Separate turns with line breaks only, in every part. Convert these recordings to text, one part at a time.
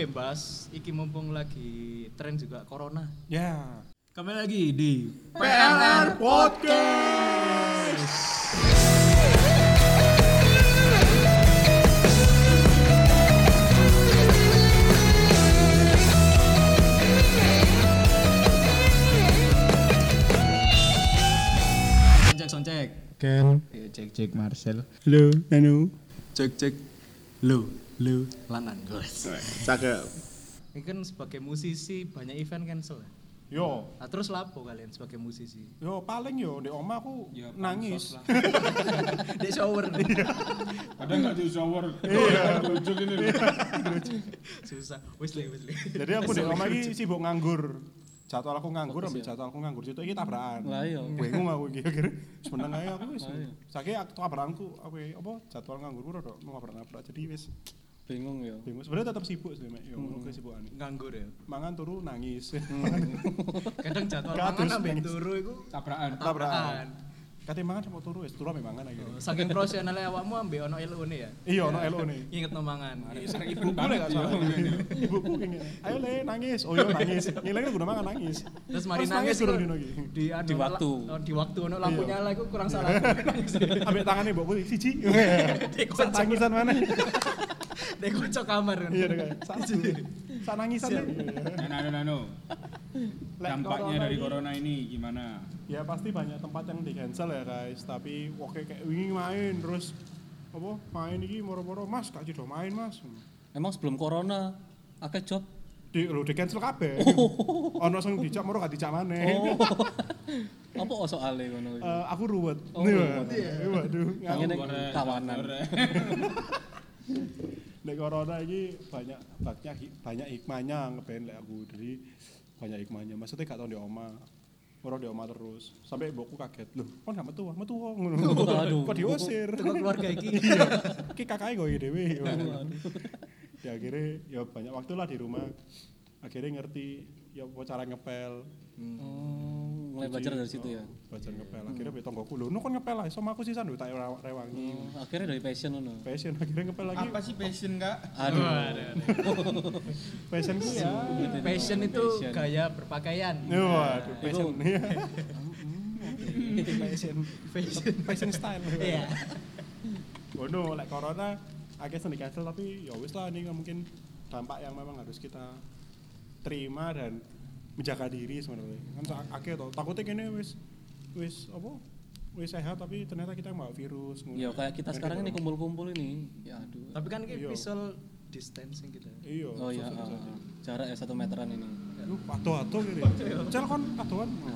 Eh bahas iki mumpung lagi tren juga corona.
Ya.
Kembali lagi di
PLR Podcast.
Soncek Soncek.
Ken.
Ayo cek cek Marcel.
Halo, Nanu.
Cek cek. Lu lu lanang guys.
Cakep.
Ini kan sebagai musisi banyak event cancel. ya?
Yo,
Nah, terus lapo kalian sebagai musisi?
yo paling yo di oma aku
Ya,
nangis.
Dek shower Iya. nih.
Kadang nggak di shower, lucu ini.
Iya. Susah. Wis le wis le.
Jadi aku di oma iki sibuk nganggur. Jadwal aku nganggur,
ya?
ambil jadwal aku nganggur. Itu iki tabrakan.
Lah iya.
Bingung aku iki akhirnya. Sebenarnya ae aku wis.
iya.
Saiki aku tabrakanku aku iki, apa jadwal nganggur ora dok mau nabrak-nabrak. Jadi wis
bingung ya
bingung. Sebenarnya tetap sibuk sih, Mek. Yo
Hmm.
ngono kesibukane.
Nganggur ya.
Mangan turu nangis. Mangan
Hmm. Kadang jadwal
Kadus,
mangan ambek
nangis.
turu iku
Tabrakan.
tabrakan. Kate mangan mau turu wis, turu ambek mangan akhirnya.
saking profesionalnya awakmu ambek ono LO-ne ya.
Iya, ono LO nih.
Inget no mangan. Iya,
Sering
Ibu
event
boleh
banget
gak
ya.
salah. Ibuku kayaknya. Ayo le nangis. Oh iya nangis. Ngilang udah mangan nangis.
Terus mari nangis
turun
kok.
dino iki.
di, anu,
Di waktu.
la- oh, di waktu ono lampu
Iya.
nyala iku kurang salah nangis
Ambek tangane mbokku siji.
Iya.
Dekocok.
Sak tangisan mana?
dek kocok kamar kan
Iya dek. Sak sak nangisan deh.
Nah, nah, nah, nah, no.
Lek
Dampaknya dari
ini-
corona ini gimana?
Ya pasti banyak tempat yang di cancel ya guys, tapi oke kayak wingi main terus apa main iki moro-moro Mas gak jido main Mas.
emang sebelum corona akeh job
Di lo di cancel kabeh. Ono sing dijak moro gak dijak maneh.
oh apa oh soalnya ngono iku?
Eh, aku ruwet.
Oh,
Iya,
ruwet.
iya, Waduh.
Aku
ngawur.
neng kawanan.
Nek corona ini banyak banyak banyak hikmahnya ngeben lek aku dari banyak hikmahnya. Maksudnya gak tau di oma. Orang di oma terus sampai mbokku kaget loh. Kon gak metu, ah? metu wong ngono.
Aduh.
Kok diusir.
teko keluarga iki
Iya. Ki kakake kok iki dhewe. Ya akhirnya ya banyak waktu lah di rumah. Akhirnya ngerti ya apa cara ngepel.
oh mulai belajar dari situ ya
Belajar ngepel. Akhirnya be tonggoku lho, "Nu kon ngepel lah, sama aku sisan lho tak rewa- rewangi."
Hmm, akhirnya dari passion ngono
Passion akhirnya ngepel lagi.
sih passion kak?
aduh
Passion ku ya.
passion itu
Passion.
gaya berpakaian
Yo, aduh, passion. ya.
passion fashion
Fashion style.
iya
Bono, lek corona akhirnya sendiri cancel tapi ya wis lah ini mungkin dampak yang memang harus kita terima dan menjaga diri sebenarnya. Kan sa- akhirnya toh takutnya kene wis wis apa? Wis sehat tapi ternyata kita bawa virus. ngono.
ya kayak kita
Kan
sekarang ini
corona.
kumpul-kumpul ini ya aduh
tapi kan iki
Iya.
visual gitu. distancing kita
Iya.
oh ya
susah- susah.
jarak ya satu meteran ini
Lu atuh-atuh gitu. Cel kon atuhan.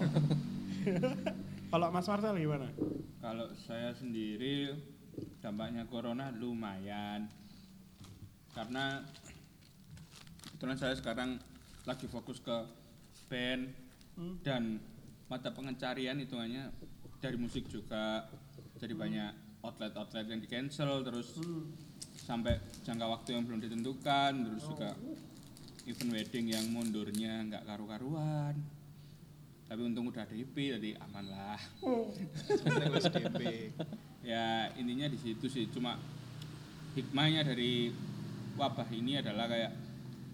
Kalau Mas Marcel gimana?
Kalau saya sendiri dampaknya corona lumayan. Karena kebetulan saya sekarang lagi fokus ke band dan mata pengencarian hitungannya dari musik juga. Jadi banyak outlet-outlet yang di cancel terus sampai jangka waktu yang belum ditentukan terus juga event wedding yang mundurnya nggak karu-karuan tapi untung udah DP jadi aman lah
sebenarnya wis DP
ya intinya di situ sih cuma hikmahnya dari wabah ini adalah kayak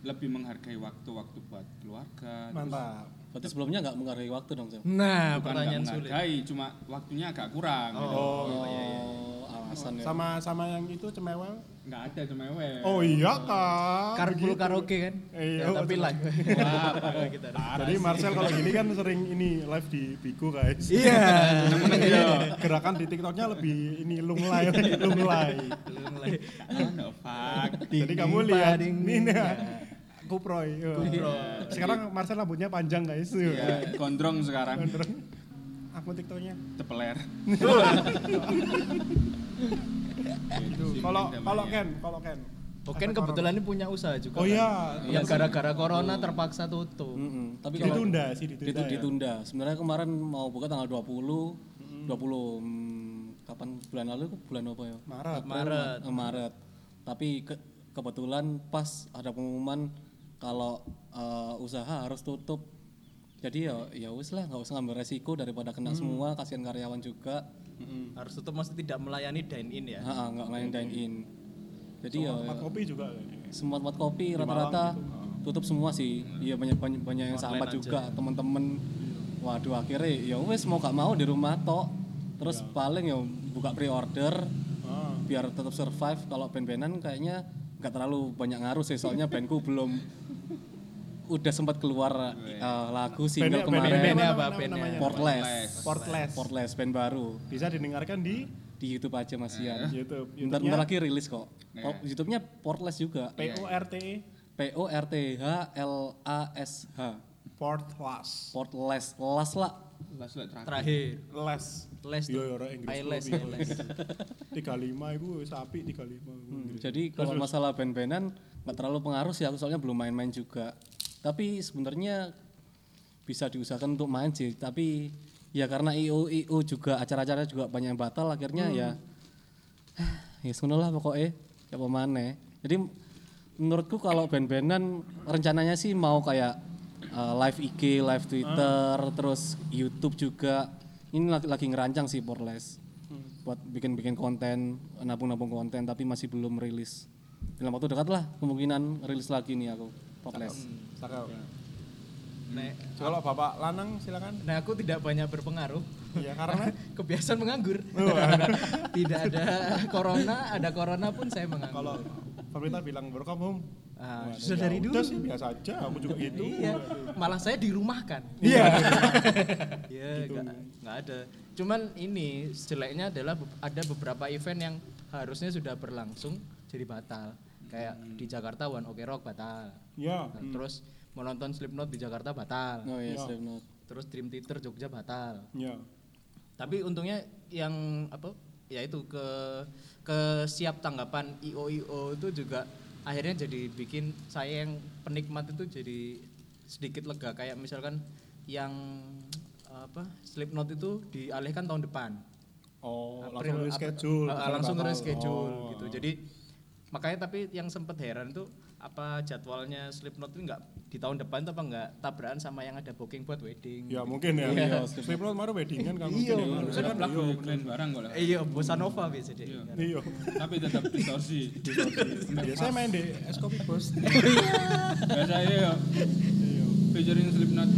lebih menghargai waktu-waktu buat keluarga Terus
Mantap.
berarti sebelumnya nggak menghargai waktu dong Sam
nah
bukan nggak
pertanyaan sulit
menghargai cuma waktunya agak kurang gitu.
Oh,
oh alasan ya
sama sama yang itu cemewel.
nggak ada cemewe
Oh iya kan.
Karena
Begitu.
karaoke kan Ya,
Iya,
tapi
betul.
live
Wah, parah.
kita
Jadi Marcel kalau gini kan sering ini live di Bigo guys. Iya,
iya
Gerakan di TikToknya lebih ini lunglai, lunglai.
Belum lagi.
Ah, no fuck
Jadi kamu
Ding,
lihat
pading,
ini
ding.
nah, kuproy.
Kuproy. Iya.
Sekarang Marcel rambutnya panjang guys.
ya gondrong sekarang
Aku TikToknya.
cepeler Gitu sih
Kalau
mungkin
kalau
dampaknya.
Ken, kalau Ken.
Oke, kan kebetulan ini punya usaha juga.
Oh
kan?
iya,
yang gara-gara corona terpaksa tutup.
Mm-mm. tapi kalau
Ditunda sih ditunda.
ditunda,
ya.
ditunda. sebenarnya kemarin mau buka tanggal 20 20 hmm, kapan bulan lalu itu bulan apa ya
Maret.
Maret.
Eh, Maret. Tapi ke- kebetulan pas ada pengumuman kalau eh, usaha harus tutup. Jadi ya ya wis lah nggak usah ngambil resiko daripada kena
Hmm.
semua kasihan karyawan juga.
Harus tutup maksudnya tidak melayani dine in ya.
Ha, ha, nggak main dine in. Jadi ya
Tempat kopi juga kayaknya.
tempat-tempat kopi rata-rata
gitu.
tutup semua sih.
Hmm.
Iya banyak banyak, banyak yang sahabat juga teman-teman. Waduh akhirnya ya wes mau gak mau di rumah tok. Terus paling ya buka pre-order
Iya. Ah,
biar tetap survive. Kalau band-bandan kayaknya nggak terlalu banyak ngaruh sih soalnya bandku belum udah sempat keluar eh, lagu single
Iya. Bandnya-
kemarin
Bandnya
bandnya apa
apa?
nama-
Bandnya.
namanya?
Portless.
Portless.
Portless band baru
Bisa didengarkan di
di YouTube aja Mas Ian.
Iya. YouTube. Iya.
Bentar, bentar lagi rilis kok. Po- YouTube-nya Portless juga.
Iya.
P O R T E
P O R T H L A S H.
Portless.
Portless, las lah.
Last lah terakhir.
Terakhir.
Les.
Les
Iya,
tuh.
ya, orang Inggris.
Eyeless,
Iya.
eyeless.
35 itu sapi 35. Inggris.
Jadi kalau masalah band-bandan nggak terlalu pengaruh sih aku soalnya belum main-main juga. Tapi sebenarnya bisa diusahakan untuk main sih. Tapi ya karena IO IO juga acara-acara juga banyak yang batal akhirnya ya ya semono lah pokoknya ya apa maneh. Jadi menurutku kalau band-bandan rencananya sih mau kayak eh, live IG, live Twitter, terus YouTube juga. Ini lagi, lagi ngerancang sih Porles buat bikin-bikin konten, nabung-nabung konten tapi masih belum rilis. Dalam waktu dekat lah kemungkinan rilis lagi nih aku Porles.
Cakep.
Nek,
Kalau Bapak Lanang silakan.
nah aku tidak banyak berpengaruh.
Iya, karena
Kebiasaan menganggur. tidak ada corona, ada corona pun saya menganggur.
kalau pemerintah bilang work from home.
Ah,
Waduh,
sudah dari
ya
dulu.
udah sih biasa aja, aku juga gitu.
Iya, malah saya dirumahkan.
Iya.
Iya,
Gitu.
nggak nggak ada. Cuman ini jeleknya adalah be- ada beberapa event yang harusnya sudah berlangsung jadi batal. Kayak
Hmm.
di Jakarta One Ok Rock batal.
Iya.
Nah, Terus menonton Slipknot di Jakarta batal.
Oh yes,
Iya.
Slipknot.
Terus Dream Theater Jogja batal.
Iya.
Tapi untungnya yang apa? Yaitu ke ke siap tanggapan IO IO itu juga akhirnya jadi bikin saya yang penikmat itu jadi sedikit lega kayak misalkan yang apa Slipknot itu dialihkan tahun depan.
Oh,
April,
langsung
April-
reschedule.
eh, eh,
bukan
langsung
batal.
reschedule
Oh.
gitu. Jadi makanya tapi yang sempat heran tuh apa jadwalnya Slipknot itu enggak di tahun depan tuh apa enggak tabrakan sama yang ada booking buat wedding.
Ya mungkin ya.
Iya.
Slipknot kemarin weddingan kan
Iya,
mungkin ya.
bener.
Saya kan lagu kalian barang kok lah.
Eh, Iya, Bossa Nova biasa deh.
Iya.
Tapi tetap distorsi.
Biasanya main di es kopi bos.
Biasa ya.
Iya.
Featuring Slipknot.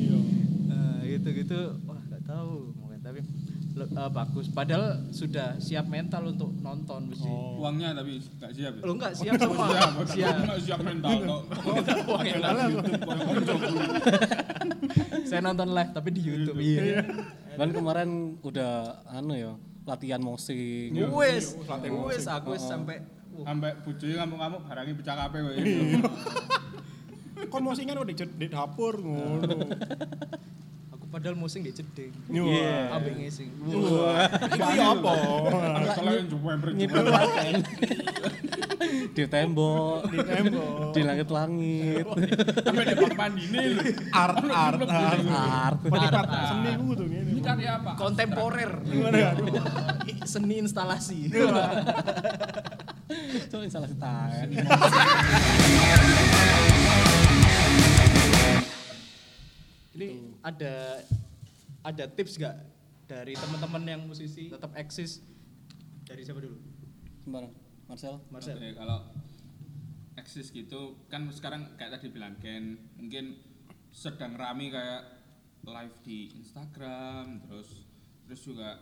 Iya.
Eh, gitu-gitu wah nggak tahu mungkin tapi le- eh, bagus padahal sudah siap mental untuk nonton mesti
Oh.
Uangnya tapi nggak siap. ya?
lo nggak siap semua
siap.
siap
Nggak siap mental kok.
Uangnya nggak siap. saya nonton live tapi di YouTube iya
Dan kemarin udah anu ya latihan musik.
Iya.
wes wes aku wes sampai Wah,
Oh.
Sampai bujui kamu-kamu barangnya pecah kape kok.
Kon mau singan udah di- di dapur ngono.
aku padahal musik di jeding
Iya.
ambek ngising
Iku ya apa?
Kalau yang jumpa yang
Ngipil kan. di tembok, di
tembok.
di langit-langit.
Sampai di bak mandi nih. lho.
Art art art.
Art.
Penikmat seni ku tuh ngene.
Ini karya apa?
kontemporer
Gimana Iya. ya? Aduh.
seni instalasi Iya.
Itu instalasi tangan.
Ini ada ada tips nggak dari teman-teman yang musisi tetap eksis dari siapa dulu?
Sembarang. Marcel.
Marcel.
Oke, kalau eksis gitu kan sekarang kayak tadi bilang Ken mungkin sedang rame kayak live di Instagram terus terus juga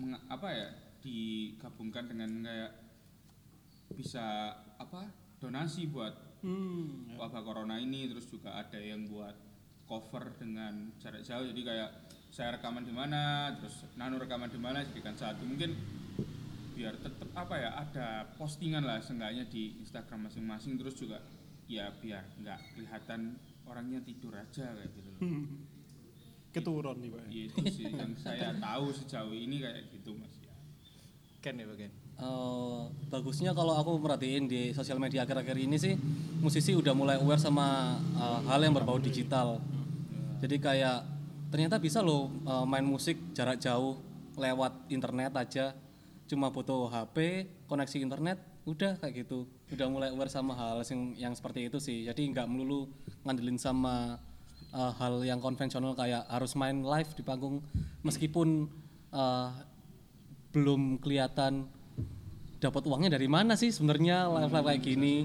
meng- apa ya digabungkan dengan kayak bisa apa donasi buat
Hmm.
wabah corona ini terus juga ada yang buat cover dengan jarak jauh jadi kayak saya rekaman di mana terus nano rekaman di mana jadikan satu mungkin biar tetap apa ya ada postingan lah seenggaknya di Instagram masing-masing terus juga ya biar nggak kelihatan orangnya tidur aja kayak gitu
Hmm.
loh
Keturun nih, Pak.
ya itu sih yang saya tahu sejauh ini kayak gitu mas ya
Ken ya bagian.
Eh, bagusnya kalau aku merhatiin di sosial media akhir-akhir ini sih musisi udah mulai aware sama eh, hal yang berbau digital. Jadi kayak ternyata bisa loh eh, main musik jarak jauh lewat internet aja. Cuma butuh HP, koneksi internet, udah kayak gitu. Udah mulai aware sama hal yang yang seperti itu sih. Jadi nggak melulu ngandelin sama eh, hal yang konvensional kayak harus main live di panggung meskipun eh, belum kelihatan dapat uangnya dari mana sih sebenarnya live live kayak gini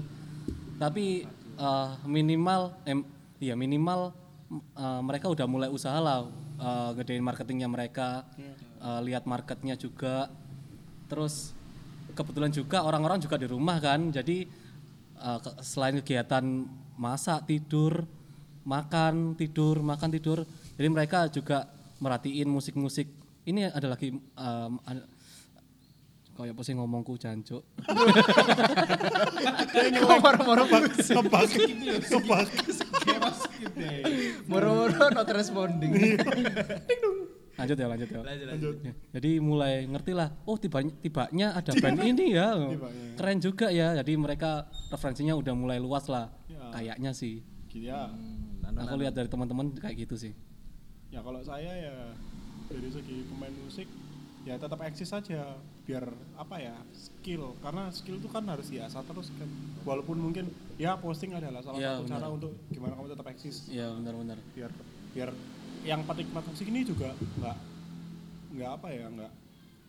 tapi eh, minimal em, ya minimal m- eh, mereka udah mulai usaha lah eh, gedein marketingnya mereka eh, lihat marketnya juga terus kebetulan juga orang-orang juga di rumah kan jadi eh, ke- selain kegiatan masak tidur makan tidur makan tidur jadi mereka juga merhatiin musik-musik ini ada lagi em, ada- kayak apa sih ngomongku jancuk
Kok moro-moro
Sebak, sebak. gitu ya?
moro-moro not responding.
lanjut ya lanjut ya
Lanjut,
Ya, jadi mulai ngerti lah oh tiba tibanya ada band ini ya keren juga ya jadi mereka referensinya udah mulai luas lah kayaknya sih
Gini ya.
aku lihat dari teman-teman kayak gitu sih
Ya kalau saya ya dari segi pemain musik ya tetap eksis saja biar apa ya skill karena skill itu kan harus diasah terus kan walaupun mungkin ya posting adalah salah
Iya,
satu
benar.
cara untuk gimana kamu tetap eksis
ya benar-benar
biar biar yang penikmat musik ini juga nggak nggak apa ya nggak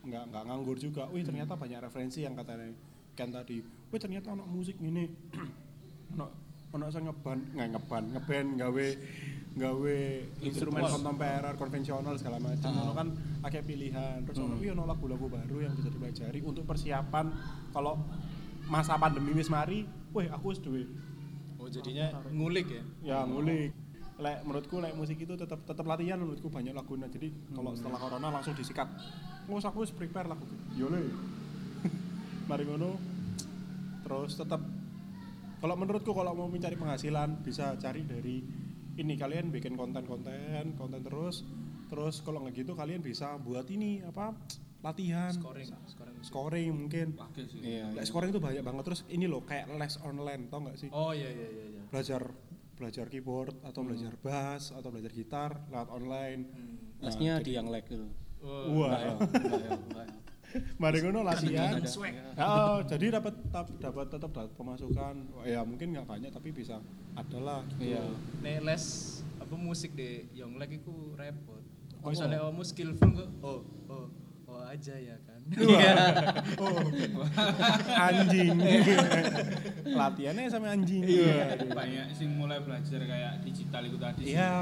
nggak nggak nganggur juga. Wih ternyata banyak referensi yang katanya Ken tadi. Wih ternyata anak musik ini anak anak saya ngeban nggak ngeban ngeband gawe gawe instrumen kontemporer konvensional segala macam. Ono kan akeh pilihan. Terus ono wih ono lagu-lagu baru yang bisa dipelajari untuk persiapan kalau masa pandemi wis mari, wih aku wis duwe
Oh jadinya ngulik ya.
ya ngulik lek menurutku lek musik itu tetap tetap latihan menurutku banyak laguna jadi kalau setelah corona langsung disikat nggak usah aku harus prepare lagu yole mari ngono terus tetap kalau menurutku kalau mau mencari penghasilan bisa cari dari ini kalian bikin konten-konten konten terus terus kalau nggak gitu kalian bisa buat ini apa latihan
Scoring, scoring.
scoring mungkin
Oke sih.
iya
Lek scoring itu banyak banget terus ini loh kayak les online tau nggak sih
Oh iya iya iya iya.
belajar belajar keyboard atau belajar bass atau belajar gitar lewat online.
lesnya di yang lag gitu
Wah.
Wah, mari ngono latihan. Oh, jadi dapat tap- dapat tetap dapat pemasukan. Wah, Ya mungkin nggak banyak tapi bisa adalah gitu.
iya
Nek les apa musik di Yonglek iku repot.
Oh.
Misalnya kamu skillful kok oh oh oh aja ya kan.
Oh, anjing. Latihannya sama anjing. Iya.
Banyak sih mulai belajar kayak digital itu tadi. sih.
Iya.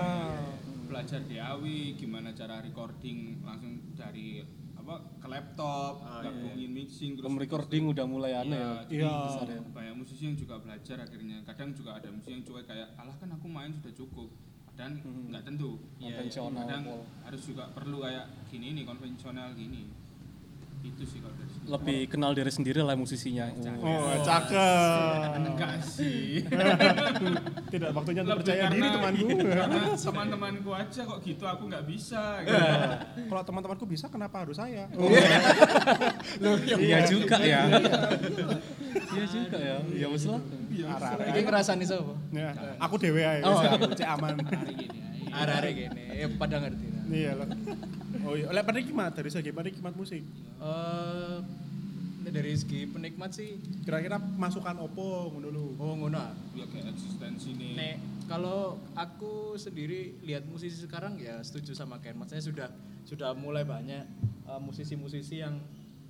Belajar DAW, gimana cara recording langsung dari apa ke laptop,
Ah,
gabungin mixing terus
Home recording udah mulai aneh ya
Iya,
Iya.
jadi banyak musisi yang juga belajar akhirnya. Kadang juga ada musisi yang cuek kayak, alah kan aku main sudah cukup. Dan nggak tentu. Iya,
Konvensional,
Kadang
Paul.
harus juga perlu kayak gini nih konvensional gini. Itu sih kalau dari segi-
lebih kenal diri sendiri lah musisinya
Oh, cakep.
Enggak sih.
Tidak waktunya untuk
Lebih
percaya diri
karena-
temanku.
Karena teman-temanku aja kok gitu aku nggak bisa. gitu.
Kalau teman-temanku bisa kenapa harus saya?
iya juga ya iya juga ya ya wes lah
Arah-arah.
Iki ngrasani sapa?
Ya, iya. aku dewe ae.
Oh.
wis, Cek aman.
Arek-arek gini, ya pada ngerti. lah.
Iya lah. Oh iya, lek penikmat dari segi penikmat musik.
Eh nek dari segi penikmat sih
Kira-kira masukan opo ngono lho.
oh ngono. ah.
Ya kayak eksistensi nih.
Nek kalau aku sendiri lihat musisi sekarang ya setuju sama Ken. Maksudnya sudah sudah mulai banyak eh, musisi-musisi yang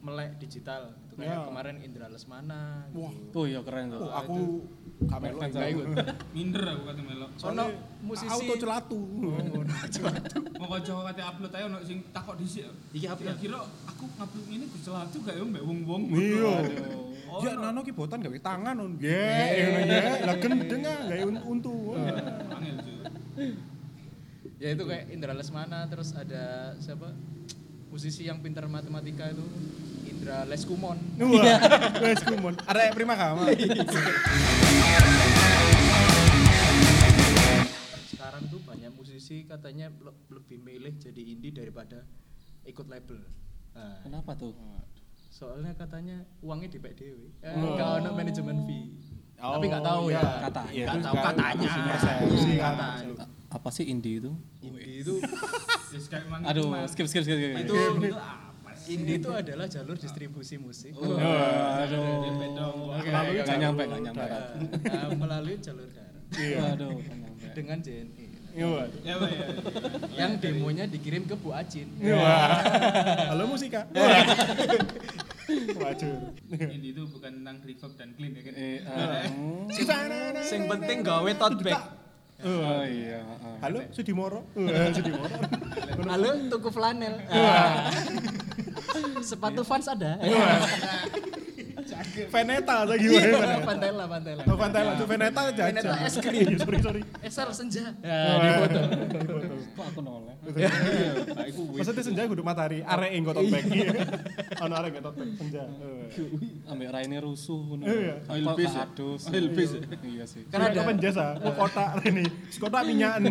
melek digital. Gitu. Kayak
Ya.
kemarin Indra Lesmana. Gitu.
Wah,
tuh ya keren tuh
oh, aku kamelu
Gak ikut.
Minder aku kata melok.
Ono
Soalnya
musisi-
auto celatu.
Mau kocok kate upload aja ono sing takok dhisik.
Iki
Iya.
apa ya?
Kira-kira aku upload ini dicelah juga ya mbak wong-wong.
Iya.
Oh,
Ya nano ki botan gawe tangan on. Ye, ngono ya. Lah gendeng ah, gawe un- untu. Iya.
Angel cuy.
Ya itu kayak Indra Lesmana terus ada siapa? Musisi yang pintar matematika itu Indra Leskumon.
Wah, Iya. wes kumon. Iya. Arek prima kama.
Sekarang tuh banyak musisi katanya le- lebih milih jadi indie daripada ikut label. Nah,
kenapa tuh
soalnya katanya uangnya di dewe. Eh, nggak ada manajemen fee.
Oh,
Tapi nggak tahu
iya.
ya.
Oh. Kata-
Nggak
Iya, itu
tahu
sekarang
katanya.
masih persepsi,
Katanya.
kan.
apa sih indie itu
Indie itu
Yes, kayak emang itu,
aduh
Ya, Mas.
skip skip skip, skip.
itu indie itu adalah jalur distribusi musik.
Oh,
Dia beda.
Melalui
iya. Nggak nyampe,
jalur
nggak nyampe.
darat. Nah, melalui jalur darat
Iya.
Waduh, nggak nyampe.
dengan JNE.
Iya. Wak.
Ya, Pak, ya.
Yang demonya dikirim ke Bu Acin. Nah.
Iya. Wak. Halo musika. Wah. wajar
ini itu bukan tentang click up dan clean ya kan
Eh, eh,
Sing penting gawe tote bag.
oh iya. eh.
halo Sudimoro Eh, Sudimoro
Halo, tuku flanel.
Iya.
Ah. Sepatu Vans ada.
Iya.
Veneta lagi
Iya, Pantella, Pantella.
Oh, pantai lah, tuh Veneta jajan.
Veneta es
krim. sorry, sorry.
SR Eh, senja.
Kok aku noleh?
Iya.
Nah, itu
Maksudnya senja kudu matahari, arek engko tote bag. Iya. Ono arek engko tote bag senja. Eh.
Ambek raine rusuh ngono.
Iya.
Apa,
Oil piece ya?
keadus.
Oil piece ya?
Iya sih.
Kan
Karena ada-
kapan jasa, kota ini, kota minyakan.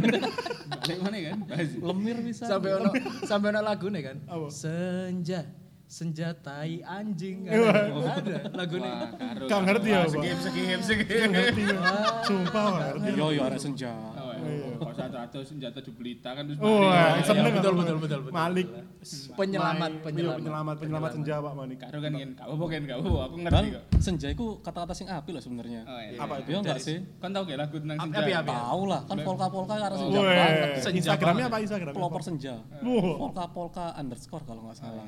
balik mana kan bahas
Lemir bisa.
Sampai ono sampai ono lagu nih kan.
Apa?
Senja. Senja tai anjing.
Iya.
Ada, ada lagu nih.
Wah, karo.
Iya.
Gak ngerti
Ah,
ya, Pak.
Skip, skip, skip.
Gak ngerti. Sumpah, gak
Nah,
ngerti.
Yo yo Iya, arek senja.
Oh, iya. Kalau satu atau senjata jubelita kan terus
Oh,
balik.
seneng
iya, betul,
aku.
betul, betul, betul.
Malik.
Penyelamat,
Iya,
penyelamat. Iya.
penyelamat, penyelamat senja Pak Manik.
Karo kan kan, gak apa-apa kan, gak apa-apa. Aku ngerti
Bang,
kok.
senja itu kata-kata sing api loh sebenarnya.
Oh, iya.
Apa itu?
Iya enggak sih?
Kan tau gak lagu tentang
Ap-
senja?
api, api.
Tahu lah, kan polka-polka arek senja banget.
Weh,
Senja
Instagramnya apa
banget.
Instagramnya?
Pelopor senja.
Wah.
Polka-polka underscore kalau nggak salah.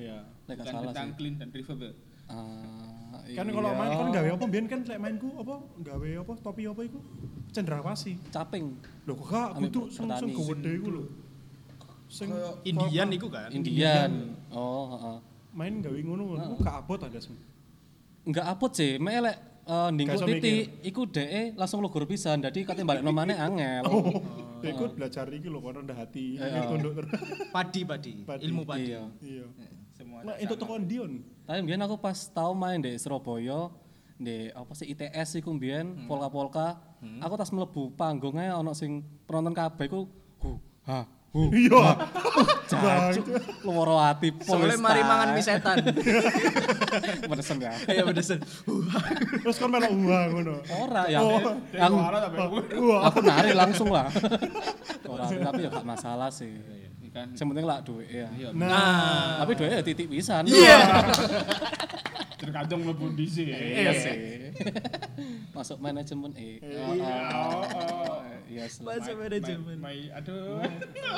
Iya.
Nek nggak
Bukan
salah
tentang
sih.
clean dan reverb ya?
Ah,
Kan kalau
iya.
main kan gawe apa mbiyen kan lek mainku apa gawe apa topi apa iku cendrawasih.
caping.
Lho kok gak
Ambil
butuh sing sing
petani.
gede iku lho. Sing
Indian iku kan.
Indian. Oh, heeh.
main gawe ngono ngono iku gak abot ada semua.
Enggak apot sih, melek uh,
Gak
ndingku
iso
titik iku dhek langsung lugur pisan. Dadi kate balik nomane angel.
Ya iku belajar iki lho kon rendah hati,
Iya.
iki tunduk terus.
Padi, padi.
Padi.
Ilmu padi.
Iya.
Iya.
Semua
Nah, itu tekan Dion.
Tapi mbiyen aku pas tau main di Surabaya di apa sih ITS iku mbiyen polka-polka. Aku tas mlebu panggung ae ana sing penonton kabeh iku hu ha hu.
Iya.
Jancuk luworo ati
Soalnya
polis.
mari mangan mie
misalnya.
setan.
Medesen ya.
Iya, pedesan.
Terus kon melok wah ngono. Oh.
Ora ya.
Oh,
Aku
Aku
marah sampe aku.
iya.
aku nari langsung lah. Ora tapi ya gak masalah sih.
Ikan.
Yang penting lah duit ya.
Nah,
Tapi duitnya ya titik pisan.
Iya.
Terkadang mlebu di sini.
Iya sih. Masuk manajemen eh. Oh, oh, oh. Iya sih.
Bahasa manajemen.
Mai, aduh.
Iya.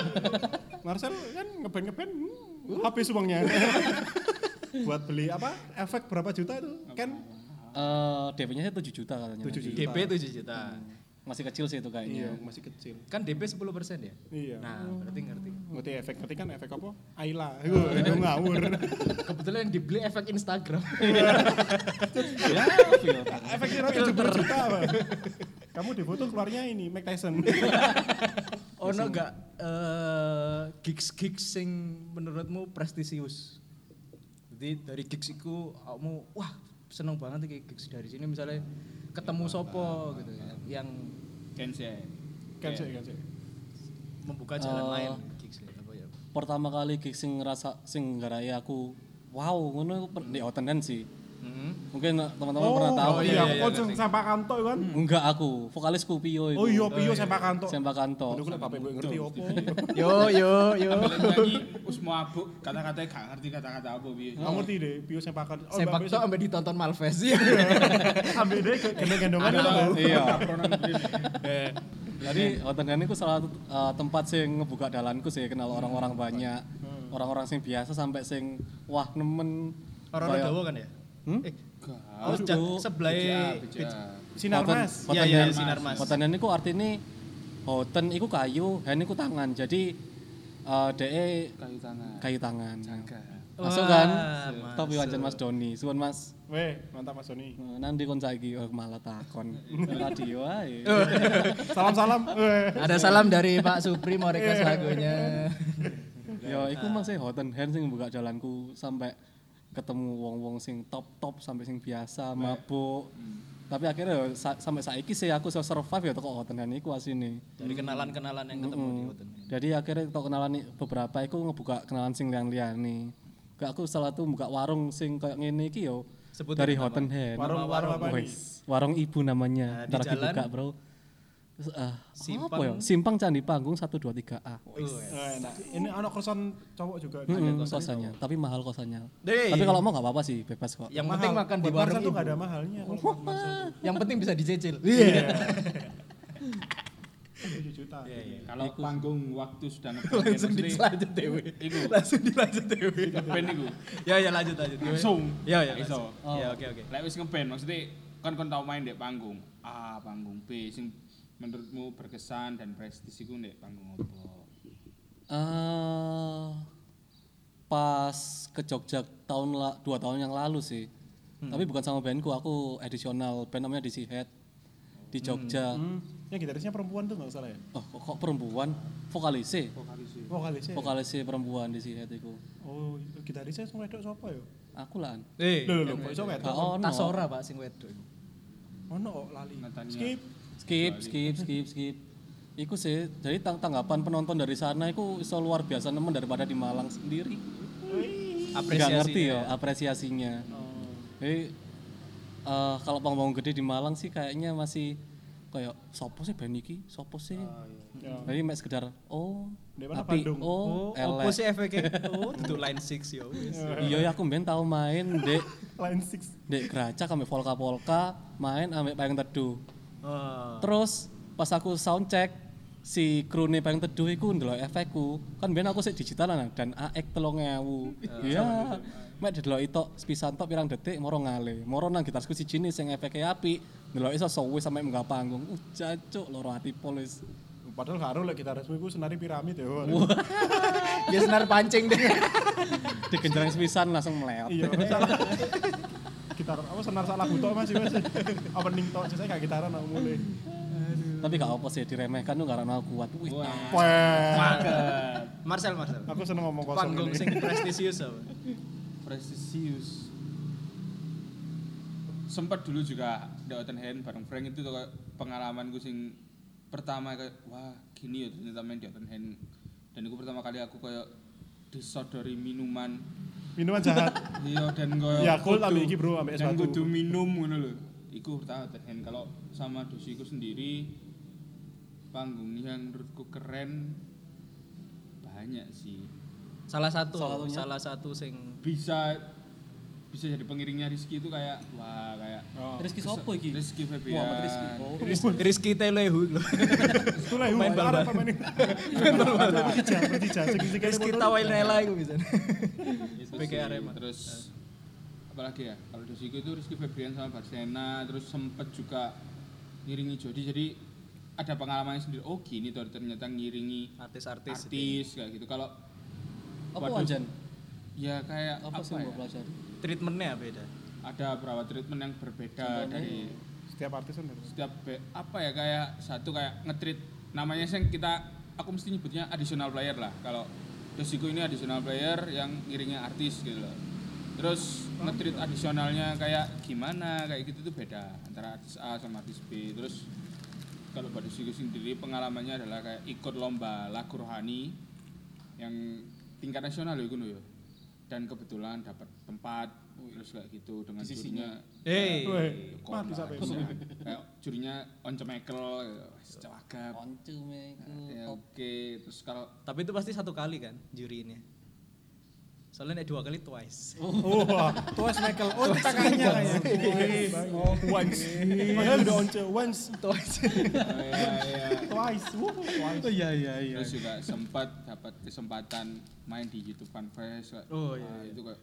Marcel kan ngeben-ngeben hmm, habis uangnya. Buat beli apa? Efek berapa juta itu? Kan
Eh, DP-nya sih 7 juta katanya.
7
tadi.
juta.
DP 7 juta.
Masih kecil sih itu
Iya,
kayaknya.
masih kecil.
Kan DP 10% ya?
Iya.
Nah, berarti ngerti.
Ngerti efek ngerti kan efek apa? Aila. Wah, itu ngawur.
Kebetulan yang dibeli efek Instagram.
Ya, feel.
Efek kira 70 juta, Pak. Iya. Kamu di foto keluarnya ini Mike Tyson.
ono gak eh gigs gigs sing menurutmu prestisius jadi dari gigs iku kamu wah seneng banget iki gigs dari sini misalnya ketemu sopo gitu yang
Kense.
Kan sih, kan sih.
membuka jalan
Eh,
lain gigs apa ya
Pertama kali gig sing ngerasa sing ngarai aku wow ngono per- di Outenden sih. Mungkin eh, teman-teman pernah tahu.
Hmm. Oh iya, pocong sampah kanto kan.
Enggak aku, vokalis Pio itu.
Oh iya, Pio sampah kanto.
Sempak kanto.
Aduh, kok bapak gue ngerti opo.
yo yo yo
Balik nyanyi, us mabuk, kata-katanya gak ngerti kata-kata apa. Bi.
Kamu ngerti deh, Pio sampah kanto. Oh,
sepak tok sampe ditonton Malves ya
ambil deh gendong-gendongan. apa?
Iya.
Pronan begini.
Eh.
Jadi Hotengan itu salah satu uh, tempat sing ngebuka dalanku sih kenal
Hmm.
orang-orang banyak. Orang-orang sing biasa sampai sing wah nemen.
orang-orang
Kayak-
Dawa kan ya
Hmm?
eh oh
Aduh.
jak- sebelah
Beja.
Sinar
Hoten-
Mas.
Iya,
Hotengan-
iya, sinar mas.
Hotengan itu artinya hoten itu kayu, hen itu tangan. Jadi uh, de
Kayu tangan.
kayu tangan.
Gak.
Masuk
Wah,
kan?
masuk.
Tapi wajan Mas Doni. Suwun Mas.
Weh, mantap Mas Sony.
Eh, Nanti kon saiki oh, malah takon. Tadi wae.
Oh.
Salam-salam. Weh.
ada salam dari Pak Supri mau request lagunya
Ya, iku mah sih Hot and Hand sing buka jalanku sampai ketemu wong-wong sing top-top sampai sing biasa mabuk. Tapi akhirnya ya, sa- sampai saiki sih aku iso survive ya toko Hot and Hand iku asine.
dari kenalan-kenalan yang ketemu di hotel
Jadi akhirnya toko kenalan i- beberapa iku ngebuka kenalan sing liyan-liyane. Kayak aku salah tuh buka warung sing kayak ngene iki yo.
Sebutin
dari Hot and Hand.
Warung warung apa nih?
Wes, warung ibu
Nah,
namanya.
di
Ntar lagi
jalan-
buka, Bro. Terus, ah, apa
Simpang- Oh,
ya? Simpang Candi Panggung 123A.
Eh, enak. Ini anak croissant cowok juga.
Mm, kosannya,
oh.
tapi mahal kosannya.
Deh.
Tapi kalau mau nggak apa-apa sih, bebas kok. Eh,
Yang penting makan di warung
tuh
ibu.
gak ada mahalnya.
Iya. Yang penting bisa dicicil.
Iya. Itu jujur juta.
Iya, iya.
Kalau panggung waktu sudah ngeband
Langsung
mesti
dilanjut dewe.
Iku.
Langsung dilanjut dewe.
ngeband iku.
Ya ya lanjut lanjut. Gimana?
Langsung.
Ya ya.
Iso.
langsung. Ya oke oke.
Lek wis ngeband maksudnya kan kon tau main di panggung A, panggung B sing menurutmu berkesan dan prestis iku ndek panggung opo?
Eh, pas ke Jogja tahun la, dua tahun yang lalu sih.
Hmm.
Tapi bukan sama bandku, aku additional band namanya DC Head di Jogja.
Hmm. Yang gitarisnya perempuan tuh nggak salah ya?
Oh, kok, kok perempuan? Vokalis
Vokalisnya. ya?
vokalis perempuan DC Head itu.
Oh, gitarisnya semua itu siapa ya?
Aku lah.
Eh,
Loh, loh, loh, kok iso wedok?
Gak
Oh,
ono.
Tasora Pak sing wedok. iku.
Ono kok lali.
Natania.
Skip.
Skip, skip, skip, skip. Iku sih, jadi tang- tanggapan penonton dari sana itu iso luar biasa nemen daripada di Malang sendiri. Nggak
Apresiasi.
ngerti ya apresiasinya. Jadi eh, kalau panggung gede di Malang sih kayaknya masih kayak sopo sih band iki, sopo sih.
Ya.
Jadi mek sekedar oh,
Di mana
tapi
Bandung?
Oh,
oh,
opo
elek.
sih efeknya? Oh, duduk line 6 ya wis.
Iya, ya aku ben tau main dek
Line 6.
dek geracak ambek polka-polka, main ambek payung teduh.
Ah.
Terus pas aku sound check si krune payung teduh iku ndelok efekku. Kan ben aku sik digitalan dan AX 3000. Iya. Mek delok itok sepisan tok pirang detik moro ngale. Moro nang gitarku siji ne sing efeke apik. Ndelok iso sowe sampe munggah panggung. Uh jancuk loro ati polis.
Padahal karo lek gitarismu iku senari piramid ya.
Ya senar pancing deh.
Digenjreng sepisan langsung meleot.
Iya. salah. Gitar apa senar salah butok Mas Mas. Opening tok saya gak gitaran aku mulai.
Tapi gak apa sih diremehkan tuh karena aku kuat. Wih,
Wah.
Marcel Marcel.
Aku seneng ngomong kosong.
Panggung
ini.
sing prestisius apa?
Prestisius. Sempat dulu juga The Open Hand bareng Frank itu tuh kayak pengalamanku sing pertama kayak wah gini ya ternyata main The Open Hand dan itu pertama kali aku kayak disodori minuman
Minuman jahat.
iya dan kayak
Yakult
kudu-
Ya, ambil iki, bro, ambil es
dan
batu.
kudu minum ngono lho iku pertama Open Hand kalau sama dosiku sendiri panggung yang menurutku keren banyak sih
Salah satu,
Salah satunya?
salah satu sing
bisa bisa jadi pengiringnya Rizky itu kayak wah kayak
Rizky sopo iki?
Rizky Febian
Muhammad Oh. Rizky. Oh.
Rizky Telehu lho.
Itu lah main bareng pemain ini. Bertiga, bertiga. Sing-sing
Rizky Tawainela iku bisa.
Itu
PK
Gitu sih.
Arema.
terus apalagi ya kalau dari situ itu Rizky Febian sama Barcelona terus sempet juga ngiringi Jody jadi ada pengalaman sendiri oh gini tuh ternyata ngiringi
Artis-artis.
artis, kayak gitu kalau
Apa
Waduh.
wajan?
ya kayak
Apa
apa,
sih yang
ya?
mau pelajari?
Treatmentnya beda.
ada beberapa treatment yang berbeda dari
Setiap artis kan beda.
setiap be- apa ya kayak satu kayak ngetrit namanya sih yang kita aku mesti nyebutnya additional player lah kalau Dosiku ini additional player yang ngiringnya artis gitu loh terus ngetrit additionalnya kayak gimana kayak gitu tuh beda antara artis A sama artis B terus kalau pada Dosiku sendiri pengalamannya adalah kayak ikut lomba lagu rohani yang tingkat nasional loh itu loh ya. dan kebetulan dapat tempat terus kayak gitu dengan jurinya
Eh,
Weh,
Kon
mati
lah,
sampai.
bisa. Kayak jurinya Once Michael, cewagap.
Oncu meku.
Ya,
Oh,
Oke, terus kalau
tapi itu pasti satu kali kan jurinya. Soalnya nek dua kali twice.
Wah, tuas Michael. Oh, tangannya kayaknya. Oh, once. Padahal udah once, once,
Twice.
ya, ya.
twice. Wuh, twice.
iya iya iya.
terus juga sempat dapat kesempatan main di YouTube Fanfest. Kak.
Oh, iya,
Wah, itu kayak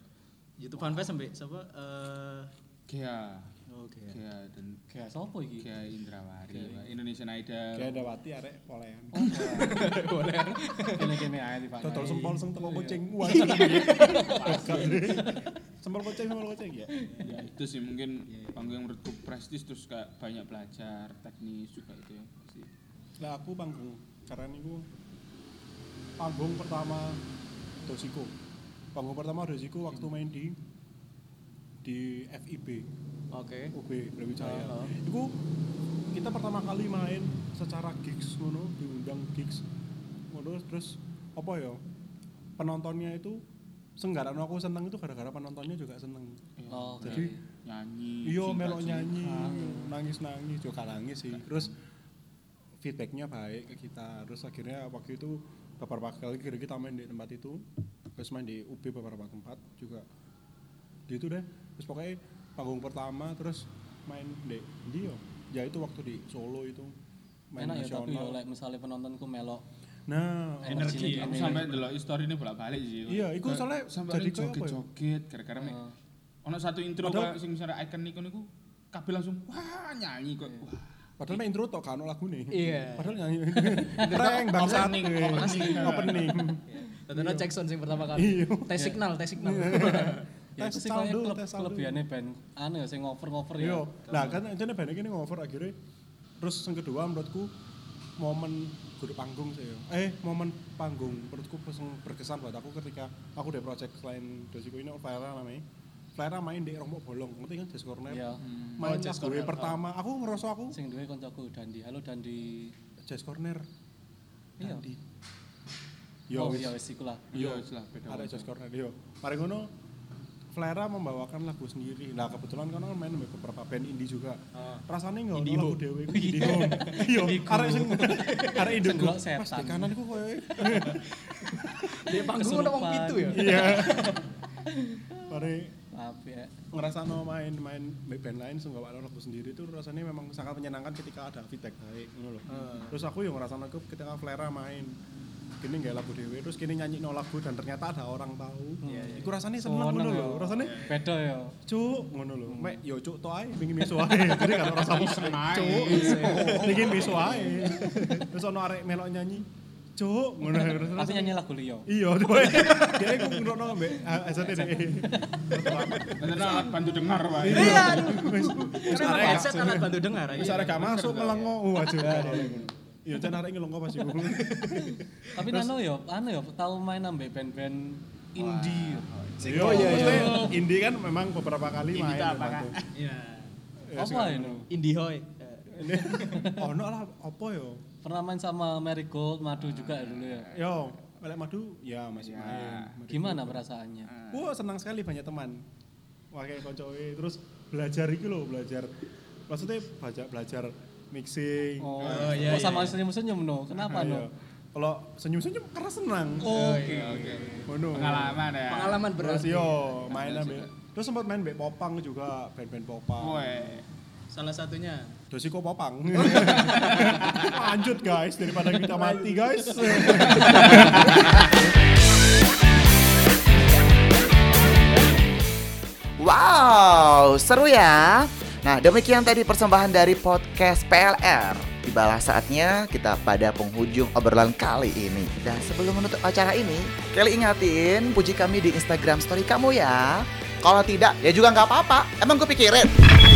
YouTube fanfest sampai siapa? Eh, oh,
Gea,
Oke.
Gea dan
Kayak sopo iki?
Gea Indrawari, Pak. Indonesian Idol.
Kayak ada wati arek polean.
Kene-kene ae di Pak.
Total sempol seng teko kucing. Wah. Sempol kucing, sempol kucing ya.
Ya, itu sih mungkin panggung yang menurutku prestis terus kayak banyak belajar teknis juga itu ya. pasti.
Lah aku panggung karena niku panggung pertama Dosiko. Panggung pertama Dosiko waktu main di di FIB,
Oke.
UB Brawijaya. Iku kita pertama kali main secara gigs ngono, diundang gigs. Ngono terus apa ya? Penontonnya itu senggarano aku seneng itu gara-gara penontonnya juga seneng.
Oh, oke.
Jadi
Nyanyi.
Iya
cinta
melok
cinta.
nyanyi, nangis-nangis, juga nangis sih. Terus feedbacknya baik ke kita. Terus akhirnya waktu itu beberapa kali kira kita main di tempat itu, terus main di UB beberapa tempat juga. Gitu deh. Terus pokoknya panggung pertama terus main di dia. Ya itu waktu di Solo itu main
enak ya tapi ya
nasional.
like misalnya penontonku melok
Nah,
Energi,
energi aku sampai delok story ini bolak-balik sih.
Iya, iku
Kayak
soalnya
sampai
jadi
jadi
kayak apa ya?
joget-joget gara-gara mek. Ono satu intro
Padahal-
kayak sing misalnya icon niku niku kabeh langsung wah nyanyi kok. Wah.
padahal main intro tok kan lagu nih.
Iya.
Padahal nyanyi. Prank bangsa.
Opening, opening.
Opening.
Tontonan
Iya.
Jackson sing pertama kali. Tes signal, tes signal.
ya
Tes
itu sih
saldo,
kayak klub
tes saldo.
kelebihannya band anu ya sing ngover ngover ya
Iya. Nah, kan jane banyak ini ngover akhirnya. Terus yang kedua menurutku momen guru panggung sih. ya. Eh, momen panggung menurutku pas yang berkesan buat aku ketika aku udah project selain Dosiku ini Flyera namanya. Flyera main di Rombok Bolong, ngerti kan Jazz Corner.
Iya.
Oh,
Main
Jazz
lagu
Corner.
pertama, aku ngerasa aku
sing duwe koncoku Dandi halo Dandi
Jazz Corner.
Iya.
Dandi.
oh
Yo, wis.
iya wis iku lah
Iya, wis lah beda.
ada Josh Cornelio. Mari ngono Flera membawakan lagu sendiri. Nah, kebetulan kan orang main sama beberapa band indie juga. Rasanya enggak ono lagu dhewe iku indie home. Iya, arek sing arek indie
Segelok
Mas,
setan.
di kanan iku koyo e.
Di panggung ono wong
Kesurupan.
pitu ya.
iya. Mari
tapi ya
ngerasano main-main band lain sing gak lagu sendiri itu rasanya memang sangat menyenangkan ketika ada feedback baik ngono loh. Terus aku yang ngerasano iku ketika Flera main kini nggak lagu dewe terus kini nyanyi no lagu dan ternyata ada orang tahu itu rasanya seneng
Seneng
ngono
ya.
loh rasanya
beda ya
cuk ngono lho mek yo cuk to ae pengin miso ae jadi kan ora sapa
Iseng ae.
cuk pengin miso ae terus ono arek melok nyanyi cuk ngono terus
tapi nyanyi lagu liyo
iya coy dia iku ngrono mbek eh, asate deh
Karena alat bantu dengar wae.
Iya.
wis
Karena pakai headset alat bantu dengar aja.
wis arek gak masuk melengo waduh iya jan arek ngelongo pas iku
tapi anu ya anu ya tau main ambek band-band indie ya.
oh iya iya Indi kan memang beberapa kali main membantu.
Iya.
Ya,
apa ya ini
anu.
Indihoy.
Ini, ono lah apa yo
pernah main sama Marigold
Ah,
Madu juga ya dulu ya
yo Melek madu ya masih main
gimana perasaannya
Wah senang sekali banyak teman. Wakai koncoe terus belajar iki loh belajar. Maksudnya belajar belajar mixing.
oh,
Oh, iya,
oh, sama
iya.
senyum-senyum no kenapa no
Iya. Kalau senyum senyum karena senang.
Oh,
Iya,
Oke, oke.
Ono.
Pengalaman ya.
Pengalaman
Terus
berarti.
yo main ambil. Terus sempat main mbek popang juga band-band popang.
Woe.
Salah satunya.
Dosiko popang. Lanjut guys daripada kita mati guys.
Wow, seru ya. Nah, demikian tadi persembahan dari podcast PLR. Tibalah saatnya kita pada penghujung obrolan kali ini. Dan sebelum menutup acara ini, Kelly ingatin puji kami di Instagram story kamu ya. Kalau tidak, ya juga nggak apa-apa. Emang gue pikirin.